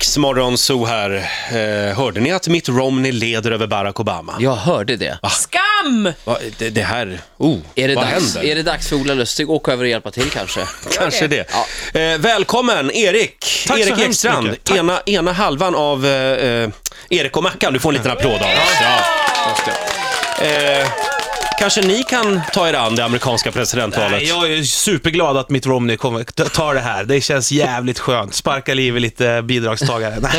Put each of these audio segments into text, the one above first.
Riksmorgon så här. Eh, hörde ni att Mitt Romney leder över Barack Obama? Jag hörde det. Skam! Va, det, det här, oh, Är det, vad dags, händer? är det dags för Ola Lustig att åka över och hjälpa till kanske? Kanske det. Eh, välkommen Erik! Tack så Erik hemskt Ekstrand, mycket. Tack. ena, ena halvan av eh, eh, Erik och Mackan. Du får en liten applåd av oss. Ja. Eh, kanske ni kan ta er an det amerikanska presidentvalet? Nej, jag är superglad att mitt Romney kommer, t- tar det här. Det känns jävligt skönt. Sparka liv i lite bidragstagare. Nej.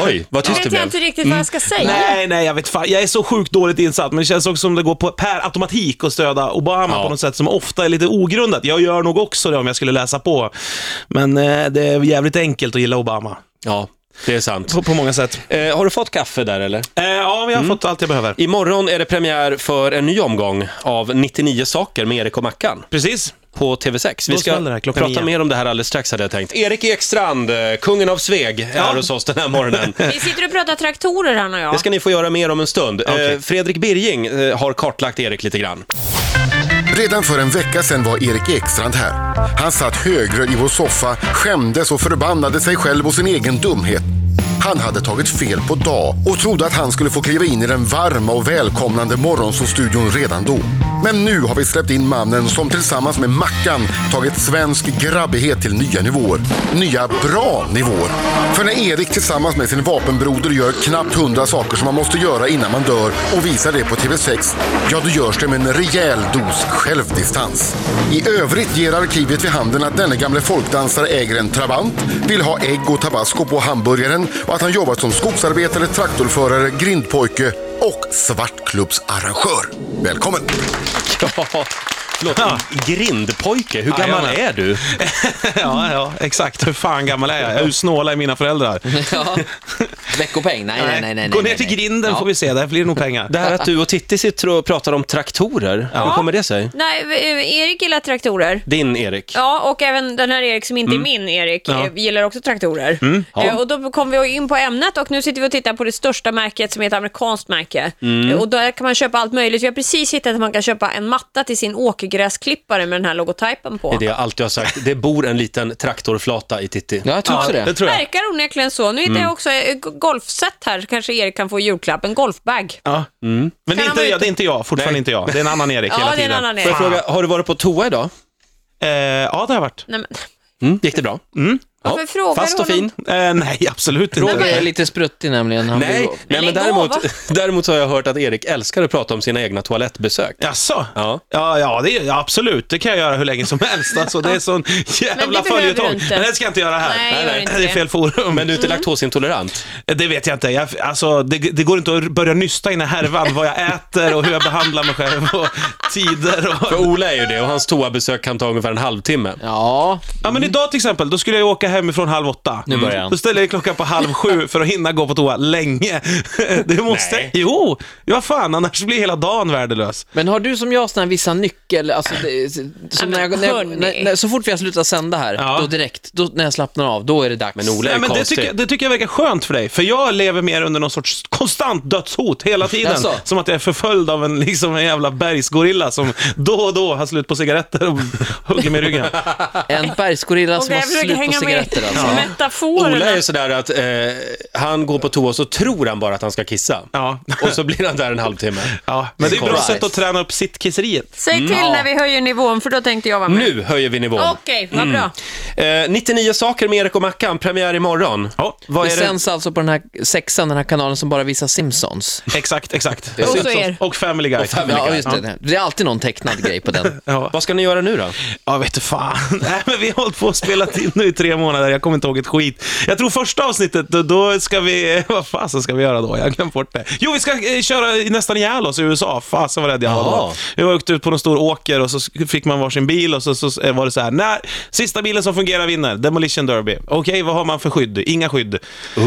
Oj, vad Nu tyst det vet jag blev. Mm. inte riktigt vad jag ska säga. nej, nej, jag vet fan. Jag är så sjukt dåligt insatt, men det känns också som det går på per automatik att stödja Obama Ja. på något sätt som ofta är lite ogrundat. Jag gör nog också det om jag skulle läsa på. Men eh, det är jävligt enkelt att gilla Obama. Ja, det är sant. På, på många sätt. Eh, har du fått kaffe där eller? Eh, ja, men jag har fått allt jag behöver. Imorgon är det premiär för en ny omgång av 99 saker med Erik och Mackan Precis. på TV6. Vi Då ska smäller det här klockan prata nio. mer om det här alldeles strax hade jag tänkt. Erik Ekstrand, eh, kungen av Sveg, är här hos oss den här morgonen. Vi sitter och pratar traktorer han och jag. Det ska ni få göra mer om en stund. Eh, Okej. Fredrik Birging eh, har kartlagt Erik lite grann. Redan för en vecka sedan var Erik Ekstrand här. Han satt högröd i vår soffa, skämdes och förbannade sig själv och sin egen dumhet. Han hade tagit fel på dag och trodde att han skulle få kliva in i den varma och välkomnande morgonsåstudion redan då. Men nu har vi släppt in mannen som tillsammans med Mackan tagit svensk grabbighet till nya nivåer. Nya bra nivåer. För när Erik tillsammans med sin vapenbroder gör knappt 100 saker som man måste göra innan man dör och visar det på TV6, ja då görs det med en rejäl dos självdistans. I övrigt ger arkivet vid handen att denne gamle folkdansare äger en Trabant, vill ha ägg och tabasco på hamburgaren och att han jobbat som skogsarbetare, traktorförare, grindpojke och svartklubbsarrangör. Välkommen! Ja, Förlåt, grindpojke, hur gammal Jajamän. är du? ja, ja, exakt. Hur fan gammal är jag? Jag är ju snåla i mina föräldrar. ja. Veckopeng? Nej, nej, nej. nej Gå ner nej, till nej. grinden Ja. får vi se, där blir det nog pengar. Det här att du och Titti sitter och pratar om traktorer, hur kommer det sig? Nej, eh, Erik gillar traktorer. Din Erik. Ja, och även den här Erik som inte Mm. är min Erik eh, gillar också traktorer. Eh, Och då kom vi in på ämnet och nu sitter vi och tittar på det största märket som är ett amerikanskt märke. Mm. Eh, Och där kan man köpa allt möjligt. Vi har precis hittat att man kan köpa en matta till sin åkergräsklippare med den här logotypen på. Det är det jag alltid har sagt. Det bor en liten traktorflata i Titti. Ja, jag tror också Ja, det det. tror jag. Verkar onekligen så. Nu hittar Mm. jag också ett golfset här, så kanske Erik kan få i julklapp. En golfbag. Ja. Mm. Men det är, Kan inte, han vara jag, det är inte jag, fortfarande Nej. inte jag. Det är en annan Erik Ja, hela det är tiden. en annan Erik. Får jag fråga, har du varit på toa idag? Eh, ja, det har jag varit. Nej, men, Mm, gick det bra? varför frågar Fast du och honom? fin? Eh, nej, absolut inte. Roger är lite spruttig nämligen. Han Nej, blir- nej men Lägg av, däremot, va? däremot har jag hört att Erik älskar att prata om sina egna toalettbesök. Jaså? Ja. Ja, ja, det, ja, absolut. Det kan jag göra hur länge som helst. Alltså, det är sån jävla behöver du följetong. inte. Men det ska jag inte göra här. Nej, gör inte Det är det. fel forum. Eh, Men du är inte laktosintolerant? Det vet jag inte. Jag, alltså, det, det går inte att börja nysta i den här härvan, vad jag äter och hur jag behandlar mig själv och tider och... För Ola är ju det och hans toabesök kan ta ungefär en halvtimme. Ja, Ja men idag till exempel, då skulle jag ju åka hemifrån halv åtta. Nu börjar han. Då ställer jag klockan på halv sju för att hinna gå på toa länge. Det måste... Nej. Jo! Ja fan, annars blir hela dagen värdelös. men har du som jag såna här vissa nyckel... Alltså, det, som när men jag, när, jag- hörni. när, när, så fort vi har slutat sända här, Ja. då direkt, då, när jag slappnar av, då är det dags. Men Ola är Nej, men det, konstig. tycker jag, det tycker jag verkar skönt för dig, för jag lever mer under någon sorts konstant dödshot hela tiden. Jaså? Som att jag är förföljd av en, liksom, en jävla bergsgorilla som då och då har slut på cigaretter och hugger mig i ryggen. En bergsgorilla som Okej, har jag försöker slut på hänga med cigaretter alltså. i metaforerna. Ola är ju sådär att eh, han går på toa så tror han bara att han ska kissa. Ja. Och så blir han där en halvtimme. Ja, men det är ett bra Christ. sätt att träna upp sittkisseriet. Säg till när vi höjer nivån, för då tänkte jag vara med. Nu höjer vi nivån. Okej, vad bra. Eh, 99 saker med Erik och Mackan, premiär imorgon. Ja, Vad Det är det? sänds alltså på den här sexan, den här kanalen som bara visar Simpsons. exakt, exakt. Och så er. och Family Guy. Ja, just det. Det är alltid någon tecknad grej på den. Ja. Vad ska ni göra nu då? Ja, vet du fan. Nej, men vi har hållit på och spelat in nu i tre månader. Jag kommer inte ihåg ett skit. Jag tror första avsnittet, då, då ska vi... Vad fasen ska vi göra då? Jag har glömt bort det. Jo, vi ska eh, köra i- nästan ihjäl oss i USA. Fasen vad rädd jag var Jaha. då. Vi åkte ut på någon stor åker och så sk- fick man varsin bil och så, så eh, var det så här. Nej, sista bilen som fungerar vinner. Demolition Derby. Okej, vad har man för skydd? Inga skydd. Eh,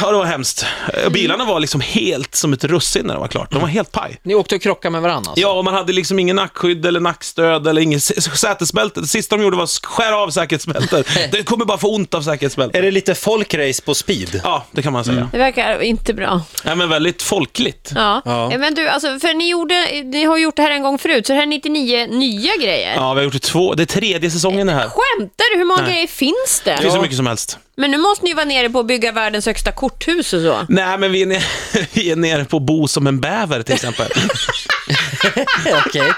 Ja, det var hemskt. Eh, Bilarna var liksom helt som ett russin när det var klart. De var helt paj. Ni åkte och krockade med varandra alltså? Ja, och man hade liksom ingen nackskydd eller nackstöd eller ingen s- s- sätesbälte. Det sista de gjorde var att skära av säkerhetsbältet. Det kommer bara få ont av Är säkerhetsbältet. det Mm. lite folkrace på speed? Ja, det kan man säga. Det verkar inte bra. Ja, men väldigt folkligt. Ja. Ja. Men du, alltså, för ni, gjorde, ni har gjort det här en gång förut, så det här är 99 nya grejer. Ja, vi har gjort det två. Det är tredje säsongen det här. Skämtar du? Hur många Nej. grejer finns det? Det finns så mycket som helst. Men nu måste ni ju vara nere på att bygga världens högsta korthus och så. Nej, men vi är, nere, vi är nere på Bo som en bäver till exempel. Okej.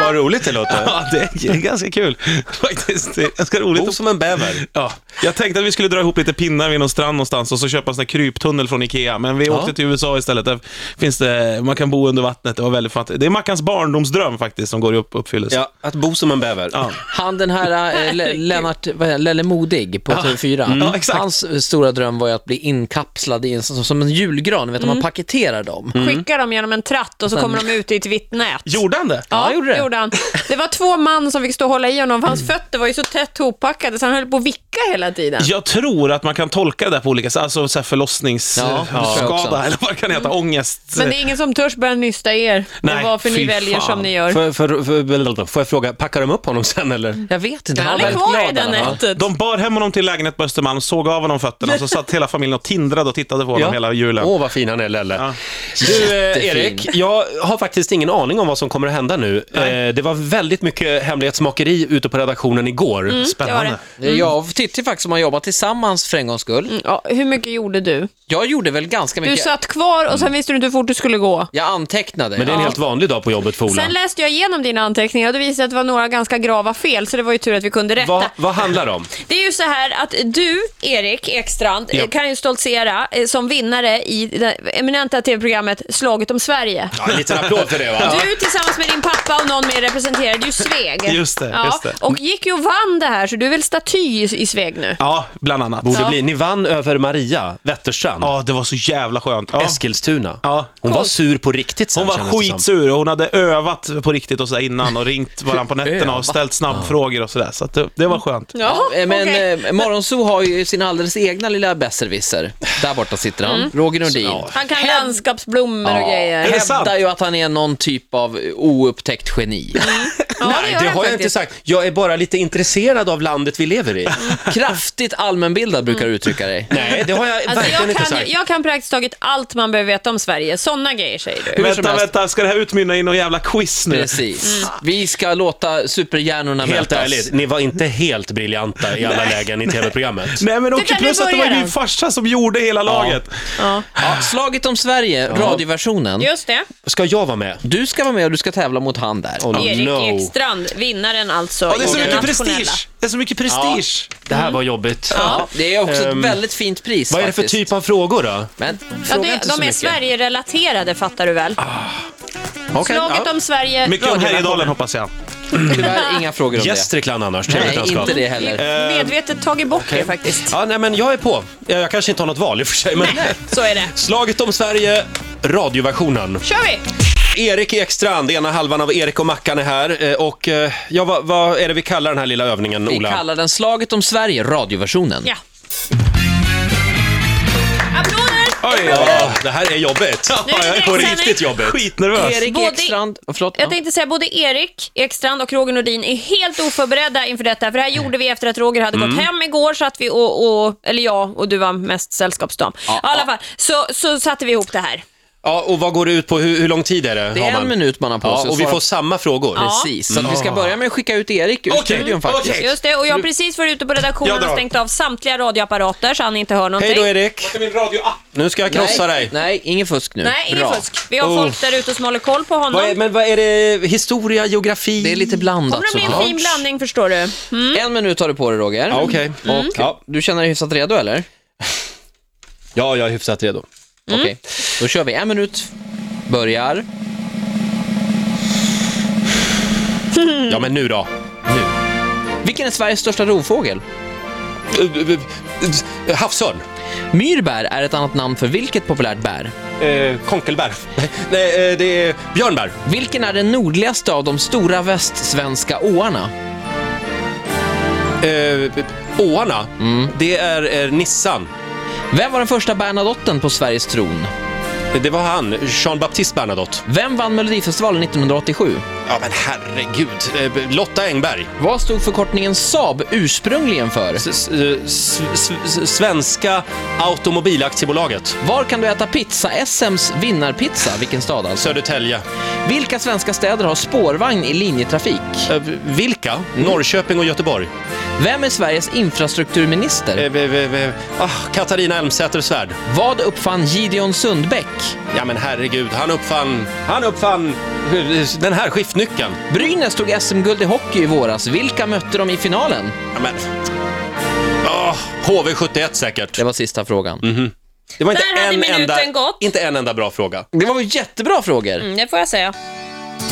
Vad roligt det låter. Ja, det är ganska kul faktiskt. Det är ganska roligt. Bo som en bäver. Ja, jag tänkte att vi skulle dra ihop lite pinnar vid någon strand någonstans och så köpa en sån här kryptunnel från Ikea, men vi åkte till USA istället. Där finns det, man kan bo under vattnet, det var väldigt fattigt. Det är Mackans barndomsdröm faktiskt som går i upp, uppfyllelse. Ja, att bo som en bäver. Ja. Han den här eh, Le- Lennart, vad heter han, Lelle Modig på TV4. Ja, exakt. Hans eh, stora dröm var ju att bli inkapslad i en, som, som en julgran, vet du, man paketerar dem. Skicka dem genom en tratt och så Sen- kommer de ut i ett vitt nät. Gjorde han det? Ja, gjorde det. han. Det var två man som fick stå och hålla i honom, för hans fötter var ju så tätt hoppackade så han höll på att vicka hela tiden. Jag tror att man kan tolka det där på olika sätt, alltså så här Ja, det tror jag förlossningsskada också. eller vad det kan heta, ångest. Men det är ingen som törs börja nysta er eh, Nej, och varför ni fy väljer fan. som ni gör. Får, jag- får, får, får jag fråga, packar de upp honom sen eller? Jag vet inte, Han var är väldigt kvar i glad det alla fall. nätet. De bar hem honom till lägenhet på Östermalm, såg av honom fötterna, så satt hela familjen och tindrade och tittade på honom hela julen. Åh, vad fin han är, Lelle. Ja. Du, eh, Jättefin. Erik, jag har faktiskt ingen aning om vad som kommer att hända nu. Eh, det var väldigt mycket hemlighetsmakeri ute på redaktionen igår. det Spännande. var Jag och Titti faktiskt som har jobbat tillsammans för en gångs skull. Ja, hur mycket gjorde du? Jag gjorde väl ganska Mm. Du mycket. satt kvar och Mm. sen visste du inte hur fort du skulle gå. Jag antecknade. Men det är en Ja. helt vanlig dag på jobbet för Ola. Sen läste jag igenom dina anteckningar och det visade sig att det var några ganska grava fel, så det var ju tur att vi kunde rätta. Vad, vad handlar det om? Det är ju så här att du, Erik Ekstrand, eh, kan ju stoltsera eh, som vinnare i det eminenta tv-programmet Slaget om Sverige. Ja, en liten applåd för det, va? Du tillsammans med din pappa och någon mer representerade ju Sveg. Just det, ja, just det. Och gick ju och vann det här, så du är väl staty i, i Sveg nu? Ja, bland annat. Borde bli. Ni vann över Maria Wetterstrand, Ja, det var så jävla skönt. Ja. Eskilstuna. Ja. Hon var sur på riktigt sen, Hon var kändes det som. skitsur och hon hade övat på riktigt och så där innan och ringt varandra på nätterna och Övat. ställt snabbfrågor och sådär. Så att det, det var skönt. Ja, Eh, Men okej. okay. Morgonzoo har ju sin alldeles egna lilla besserwisser. Där borta sitter han, Roger Nordin. Han kan landskapsblommor och grejer. det Hävdar sant? ju att han är någon typ av oupptäckt geni. Ja, Nej, gör det har jag han inte faktiskt. Mm. sagt. Jag är bara lite intresserad av landet vi lever i. Kraftigt allmänbildad brukar du uttrycka dig. Mm. Nej, det har jag Alltså, verkligen jag, inte kan, sagt. jag kan praktiskt taget allt man behöver veta om Sverige. Sådana grejer säger du. Hur som Vänta, helst. vänta, ska det här utmynna i någon jävla quiz nu? Precis. Vi ska låta superhjärnorna Mm. Helt mötas. ärligt, ni var inte helt briljanta i alla lägen i tv-programmet. Nej men också där vi plus att det var börjar. min farsa som gjorde hela laget. Ja. Ja, slaget om Sverige, radioversionen. Just det. Ska jag vara med? Du ska vara med och du ska tävla mot han där. Oh, Erik no. Ekstrand, vinnaren alltså. Ja, det är så i den mycket nationella. prestige. Det är så mycket prestige. Det här var jobbigt. Mm. Ja, det är också Ehm, ett väldigt fint pris Vad är det för faktiskt. typ av frågor då? Men Ja, fråga det, inte så de är mycket. Sverige-relaterade fattar du väl? Okej, Slaget ja. om Sverige. Mycket om Härjedalen hoppas jag. Tyvärr inga frågor om det. Gästrikland annars, trevligt Nej, landskap. inte det heller. Medvetet tagit bort det faktiskt. Ja, nej, men jag är på. Jag, jag kanske inte har något val i och för sig, men... Så är det. Slaget om Sverige, radioversionen. kör vi! Erik Ekstrand, ena halvan av Erik och Mackan är här. Eh, Och eh, ja, vad, vad är det vi kallar den här lilla övningen, Vi Ola? kallar den Slaget om Sverige, radioversionen. Ja. Applåder! Ja, det här är jobbigt. Nu är det Ja, jag är på direktsändning. riktigt jobbigt. Skitnervös. Erik Både- Ekstrand, oh, förlåt. Jag tänkte säga både Erik Ekstrand och Roger Nordin är helt oförberedda inför detta. För det här gjorde vi efter att Roger hade gått hem igår, så att vi och, och, eller jag och du var mest sällskapsdam. I alla fall, så, så satte vi ihop det här. Ja, och vad går det ut på? Hur, hur lång tid är det? det är en minut man har på Ja, sig att och vi svara får samma frågor. på. Precis, så att vi ska börja med att skicka ut Erik ur Okej, studion faktiskt. okej. Just det, och jag har precis varit ute på Jag redaktionen drar. och stängt av samtliga radioapparater så han inte hör någonting. Hej då, Erik. Vart är min radioapp? Nu ska jag krossa dig. Nej, nej, ingen fusk nu. Nej, ingen Bra. fusk. Vi har folk där ute som håller koll på honom. Vad är, men vad är det? Historia, geografi? Det är lite blandat Kommer det bli en såklart. fin blandning förstår du? Mm. En minut har du på dig Roger. Ja, okej. Och du känner dig hyfsat redo eller? Ja, jag är hyfsat redo. Mm. Okej, då kör vi. En minut börjar. Mm. Ja, men nu då. Vilken är Sveriges största rovfågel? Nu. Eh, Havsörn. Myrbär är ett annat namn för vilket populärt bär? Eh, konkelbär. Nej, eh, det är björnbär. Vilken är den nordligaste av de stora västsvenska åarna? Mm. Eh, åarna. Det är eh, Nissan. Vem var den första Bernadotten på Sveriges tron? Det var han, Jean-Baptiste Bernadotte. Vem vann Melodifestivalen 1987? Ja, men herregud. Eh, Lotta Engberg. Vad stod förkortningen Saab ursprungligen för? S- s- eh, s- s- s- Svenska Automobilaktiebolaget. Var kan du äta pizza? SMs vinnarpizza, vilken stad alltså? Södertälje. Vilka svenska städer har spårvagn i linjetrafik? Eh, Vilka? Mm. Norrköping och Göteborg. Vem är Sveriges infrastrukturminister? Eh, eh, eh, eh, Ah, Katarina Elmsäter-Svärd. Vad uppfann Gideon Sundbäck? Ja, men herregud. Han uppfann... Han uppfann eh, den här skiftnyckeln. Brynäs tog SM-guld i hockey i våras. Vilka mötte de i finalen? Ja, men... Ah, HV71 säkert. Det var sista frågan. Mm. Det var inte Där hade en, minuten enda, gått. inte en enda bra fråga. Det var ju jättebra frågor. Mm, det får jag säga.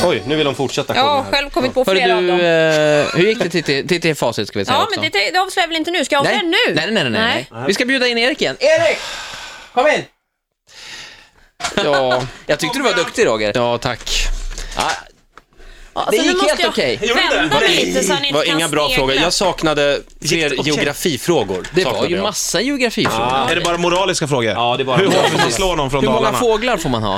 Oj, nu vill de fortsätta Jag har sjunga här. själv kommit på Hörru flera av du, dem. eh, hur gick det till, till, till, till facit ska vi säga Ja, också? men det, det avslöjar väl inte nu? Ska jag avslöja nej. nu? Nej, nej, nej, nej, nej. Vi ska bjuda in Erik igen. Erik! Kom in! Ja, jag tyckte du var duktig Roger. Ja, tack. Ja, Ja, Det så nu gick måste helt jag okej. Gjorde det? Vända mig lite så han Det inte var kan inga bra snegla. frågor. Jag saknade fler okej. geografifrågor. det var saknade ju jag. massa geografifrågor. Är det bara moraliska frågor? Ja, det är bara Hur hårt moraliska. får man slå någon från Hur många Dalarna? fåglar får man ha?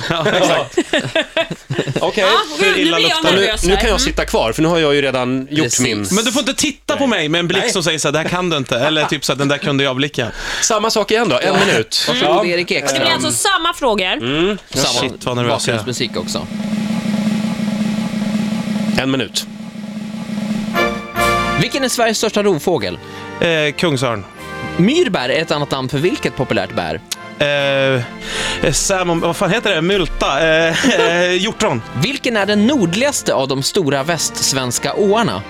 Okej. Ja, Ah, gud, nu illa blir jag luktar Och Nu, nervös nu här. kan jag sitta kvar, för nu har jag ju redan gjort Precis. min. Men du får inte titta på mig med en blick som säger så här, det här kan du inte. Eller typ så här, den där kunde jag blicka. Samma sak igen då, en minut. Varsågod Erik Det alltså- blir Ekstrand. alltså samma frågor. Mm. Samma Shit, vad nervös jag är. bakgrundsmusik också. En minut. Vilken är Sveriges största rovfågel? Eh, Kungsörn. Myrbär är ett annat namn för vilket populärt bär? Eh, eh, salmon, vad fan heter det? Multa? Eh, eh, hjortron? Vilken är den nordligaste av de stora västsvenska åarna?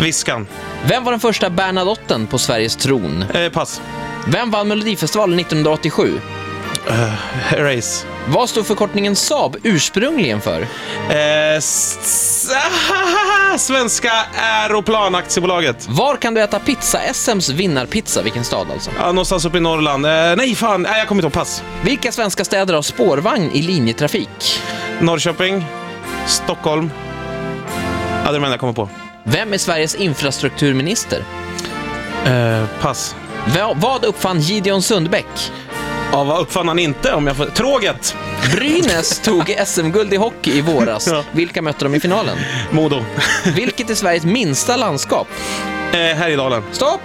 Viskan? Vem var den första Bernadotten på Sveriges tron? Eh, pass. Vem vann Melodifestivalen 1987? Race. Vad stod förkortningen Saab ursprungligen för? Eh, s- s- ah, Svenska Aeroplanaktiebolaget. Var kan du äta pizza? SMs vinnarpizza, vilken stad alltså? Ja, någonstans uppe i Norrland. Eh, nej, fan. Nej, jag kommer inte ihåg. Pass. Vilka svenska städer har spårvagn i linjetrafik? Norrköping. Stockholm. Ja, det är de enda jag kommer på. Vem är Sveriges infrastrukturminister? Eh, pass. Va- Vad uppfann Gideon Sundbäck? Ja, vad uppfann han inte? Om jag får... Tråget! Brynäs tog SM-guld i hockey i våras. Ja. Vilka mötte de i finalen? Modo. Vilket är Sveriges minsta landskap? Eh, Härjedalen. Stopp!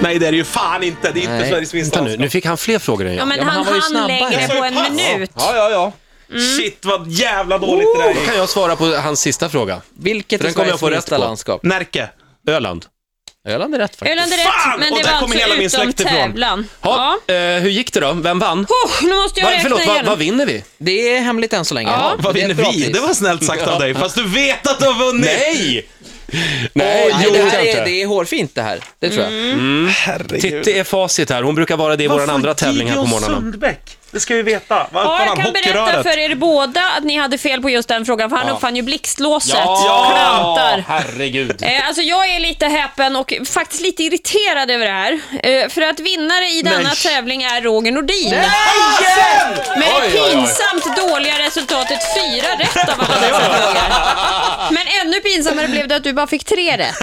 Nej, det är det ju fan inte. Det är inte Nej. Sveriges minsta Vänta nu, nu fick han fler frågor än Ja, jag. men Ja, men han, han var ju hann snabbare. längre Jag sa på ju en pass. minut. Alltså, Ja, ja, ja. Mm. Shit, vad jävla dåligt det där Då är. kan jag svara på hans sista fråga. Vilket är Den kommer jag Sveriges få rätt minsta på. landskap? Närke. Öland. Öland är rätt faktiskt. Öland är rätt, Fan! men Och det där var kommer alltså hela min utom släkt ifrån. tävlan. Ha, Ja. eh, hur gick det då? Vem vann? Oh, nu måste jag Va, räkna förlåt, va, igen. vad vinner vi? Det är hemligt än så länge. Ja, Det är Vad vinner ett bra vi? pris. Det var snällt sagt av dig, fast du vet att du har vunnit! Nej! Nej, Nej, jo, det, här jag är, inte. det är hårfint det här. Det tror jag. Herregud. Titti är facit här. Hon brukar vara det i vår andra tävling här på morgonen. Sundbäck? Det ska vi veta. Vad Ja, uppfann jag han? kan berätta Hockeyröret? för er båda att ni hade fel på just den frågan, för han uppfann ju blixtlåset. Klantar. herregud. Eh, alltså jag är lite häpen och faktiskt lite irriterad över det här. Eh, för att vinnare i denna tävling är Roger Nordin. Med det Oj, oj, oj. pinsamt dåliga resultatet fyra rätt av alla dessa frågor. Men ännu pinsammare blev det att du bara fick tre rätt.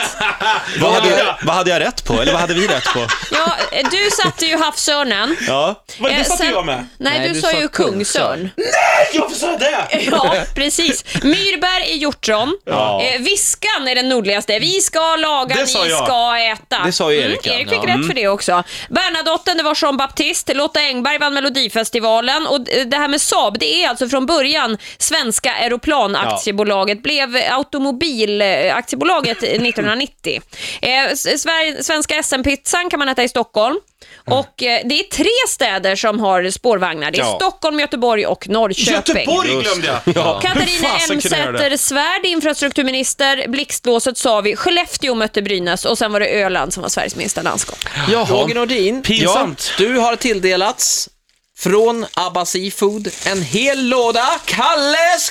Vad hade, jag, vad hade jag rätt på? Eller vad hade vi rätt på? Ja, eh, du satte ju havsörnen. Ja. Var det Eh, du som sen- du var med? Nej, Nej, du, du sa sa ju kungsörn. kungsörn. Jag sa det! Ja, precis. Myrbär är hjortron. Ja. Eh, viskan är den nordligaste. Vi ska laga, Det ni sa jag. ska äta. Det sa ju Erik, ja. Mm, Erik fick rätt för det också. Bernadotten, det var Jean Baptiste. Lotta Engberg vann Melodifestivalen. Och eh, det här med Saab, det är alltså från början Svenska Aeroplanaktiebolaget. Blev Automobilaktiebolaget 1990. Eh, S- Sver- Svenska SM-pizzan kan man äta i Stockholm. Och eh, det är tre städer som har spårvagnar. Det är Mm. Ja. Stockholm, Göteborg och Norrköping. Göteborg glömde jag! Ja. Katarina Hur fasen kunde jag göra det? Elmsäter-Svärd, infrastrukturminister. Blixtlåset sa vi. Skellefteå mötte Brynäs och sen var det Öland som var Sveriges minsta landskap. Roger Nordin, Pinsamt. Ja, du har tilldelats från Abba Seafood en hel låda Kalles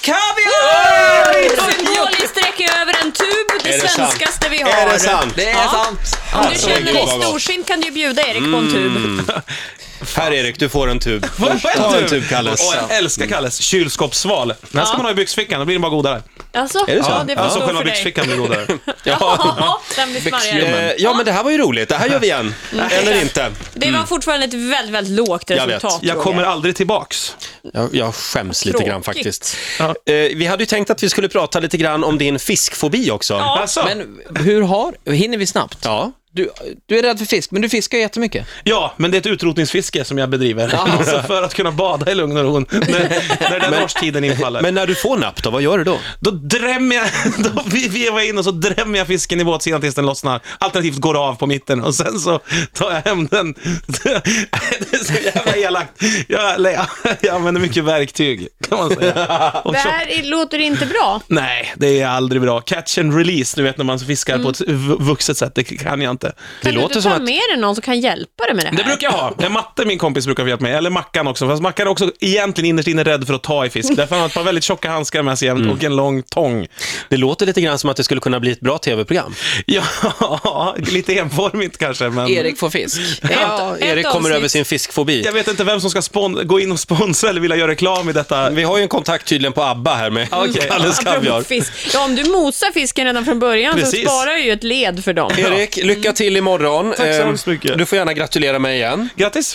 Kaviar! Symboliskt räcker över en tub, det, Är det sant? svenskaste vi har. Är det sant? Det är Ja. sant. Om du Alltså, känner gud, dig vad gott. Mm. storsint kan du ju bjuda Erik på en tub. Här Erik, du får en tub. Ta en tub, typ Kalles. Och jag älskar Kalles kylskåpsval. Den här ska man ha i byxfickan, då blir den bara godare. Alltså, Är det så? Ja, det Alltså förstår själva för dig. byxfickan blir godare. Ja, den blir smarrigare. Eh, ja, men det här var ju roligt. Det här gör vi igen. Mm. Eller inte. Det var fortfarande ett väldigt, väldigt lågt Mm. Jag vet. resultat. Jag Roger. kommer aldrig tillbaks. Jag, jag skäms lite Tråkigt. grann faktiskt. Eh, vi hade ju tänkt att vi skulle prata lite grann om din fiskfobi också. Ja. Alltså, Men hur har, hinner vi snabbt? Ja. Du, du är rädd för fisk, men du fiskar jättemycket. ja, men det är ett utrotningsfiske som jag bedriver. Alltså för att kunna bada i lugn och ro när, när den årstiden infaller. Men när du får napp då, vad gör du då? Då drämmer jag, då vevar jag in och så drämmer jag fisken i båtsidan tills den lossnar. Alternativt går av på mitten och sen så tar jag hem den. Det är så jävla elakt. Jag, eller jag, jag använder mycket verktyg, kan man säga. Och Det tjock- här är- låter inte bra. Nej, det är aldrig bra. Catch and release, du vet när man fiskar på ett v- vuxet sätt, det kan jag inte. Mm. Kan du låter inte som ta att- med dig någon som kan hjälpa dig med det här? Det brukar jag ha. Ja, Matte, min kompis, brukar få hjälpa mig. Eller Mackan också. Fast Mackan är också egentligen innerst inne rädd för att ta i fisk. Därför har han ett par väldigt tjocka handskar med sig jämt Mm. och en lång tång. Det låter lite grann som att det skulle kunna bli ett bra tv-program. Ja, lite enformigt kanske, men... Erik får fisk. Ja, ett Erik kommer avsnitt. över sin fiskfobi. Jag vet inte vem som ska spon- gå in och sponsra eller vilja göra reklam i detta. Vi har ju en kontakt tydligen på ABBA här med Okej. Kalles Apropå Kaviar. Fisk. Ja, om du mosar fisken redan från början Precis. så sparar du ju ett led för dem. Erik, lycka till imorgon. Tack så Eh, hemskt mycket. Du får gärna gratulera mig igen. Grattis!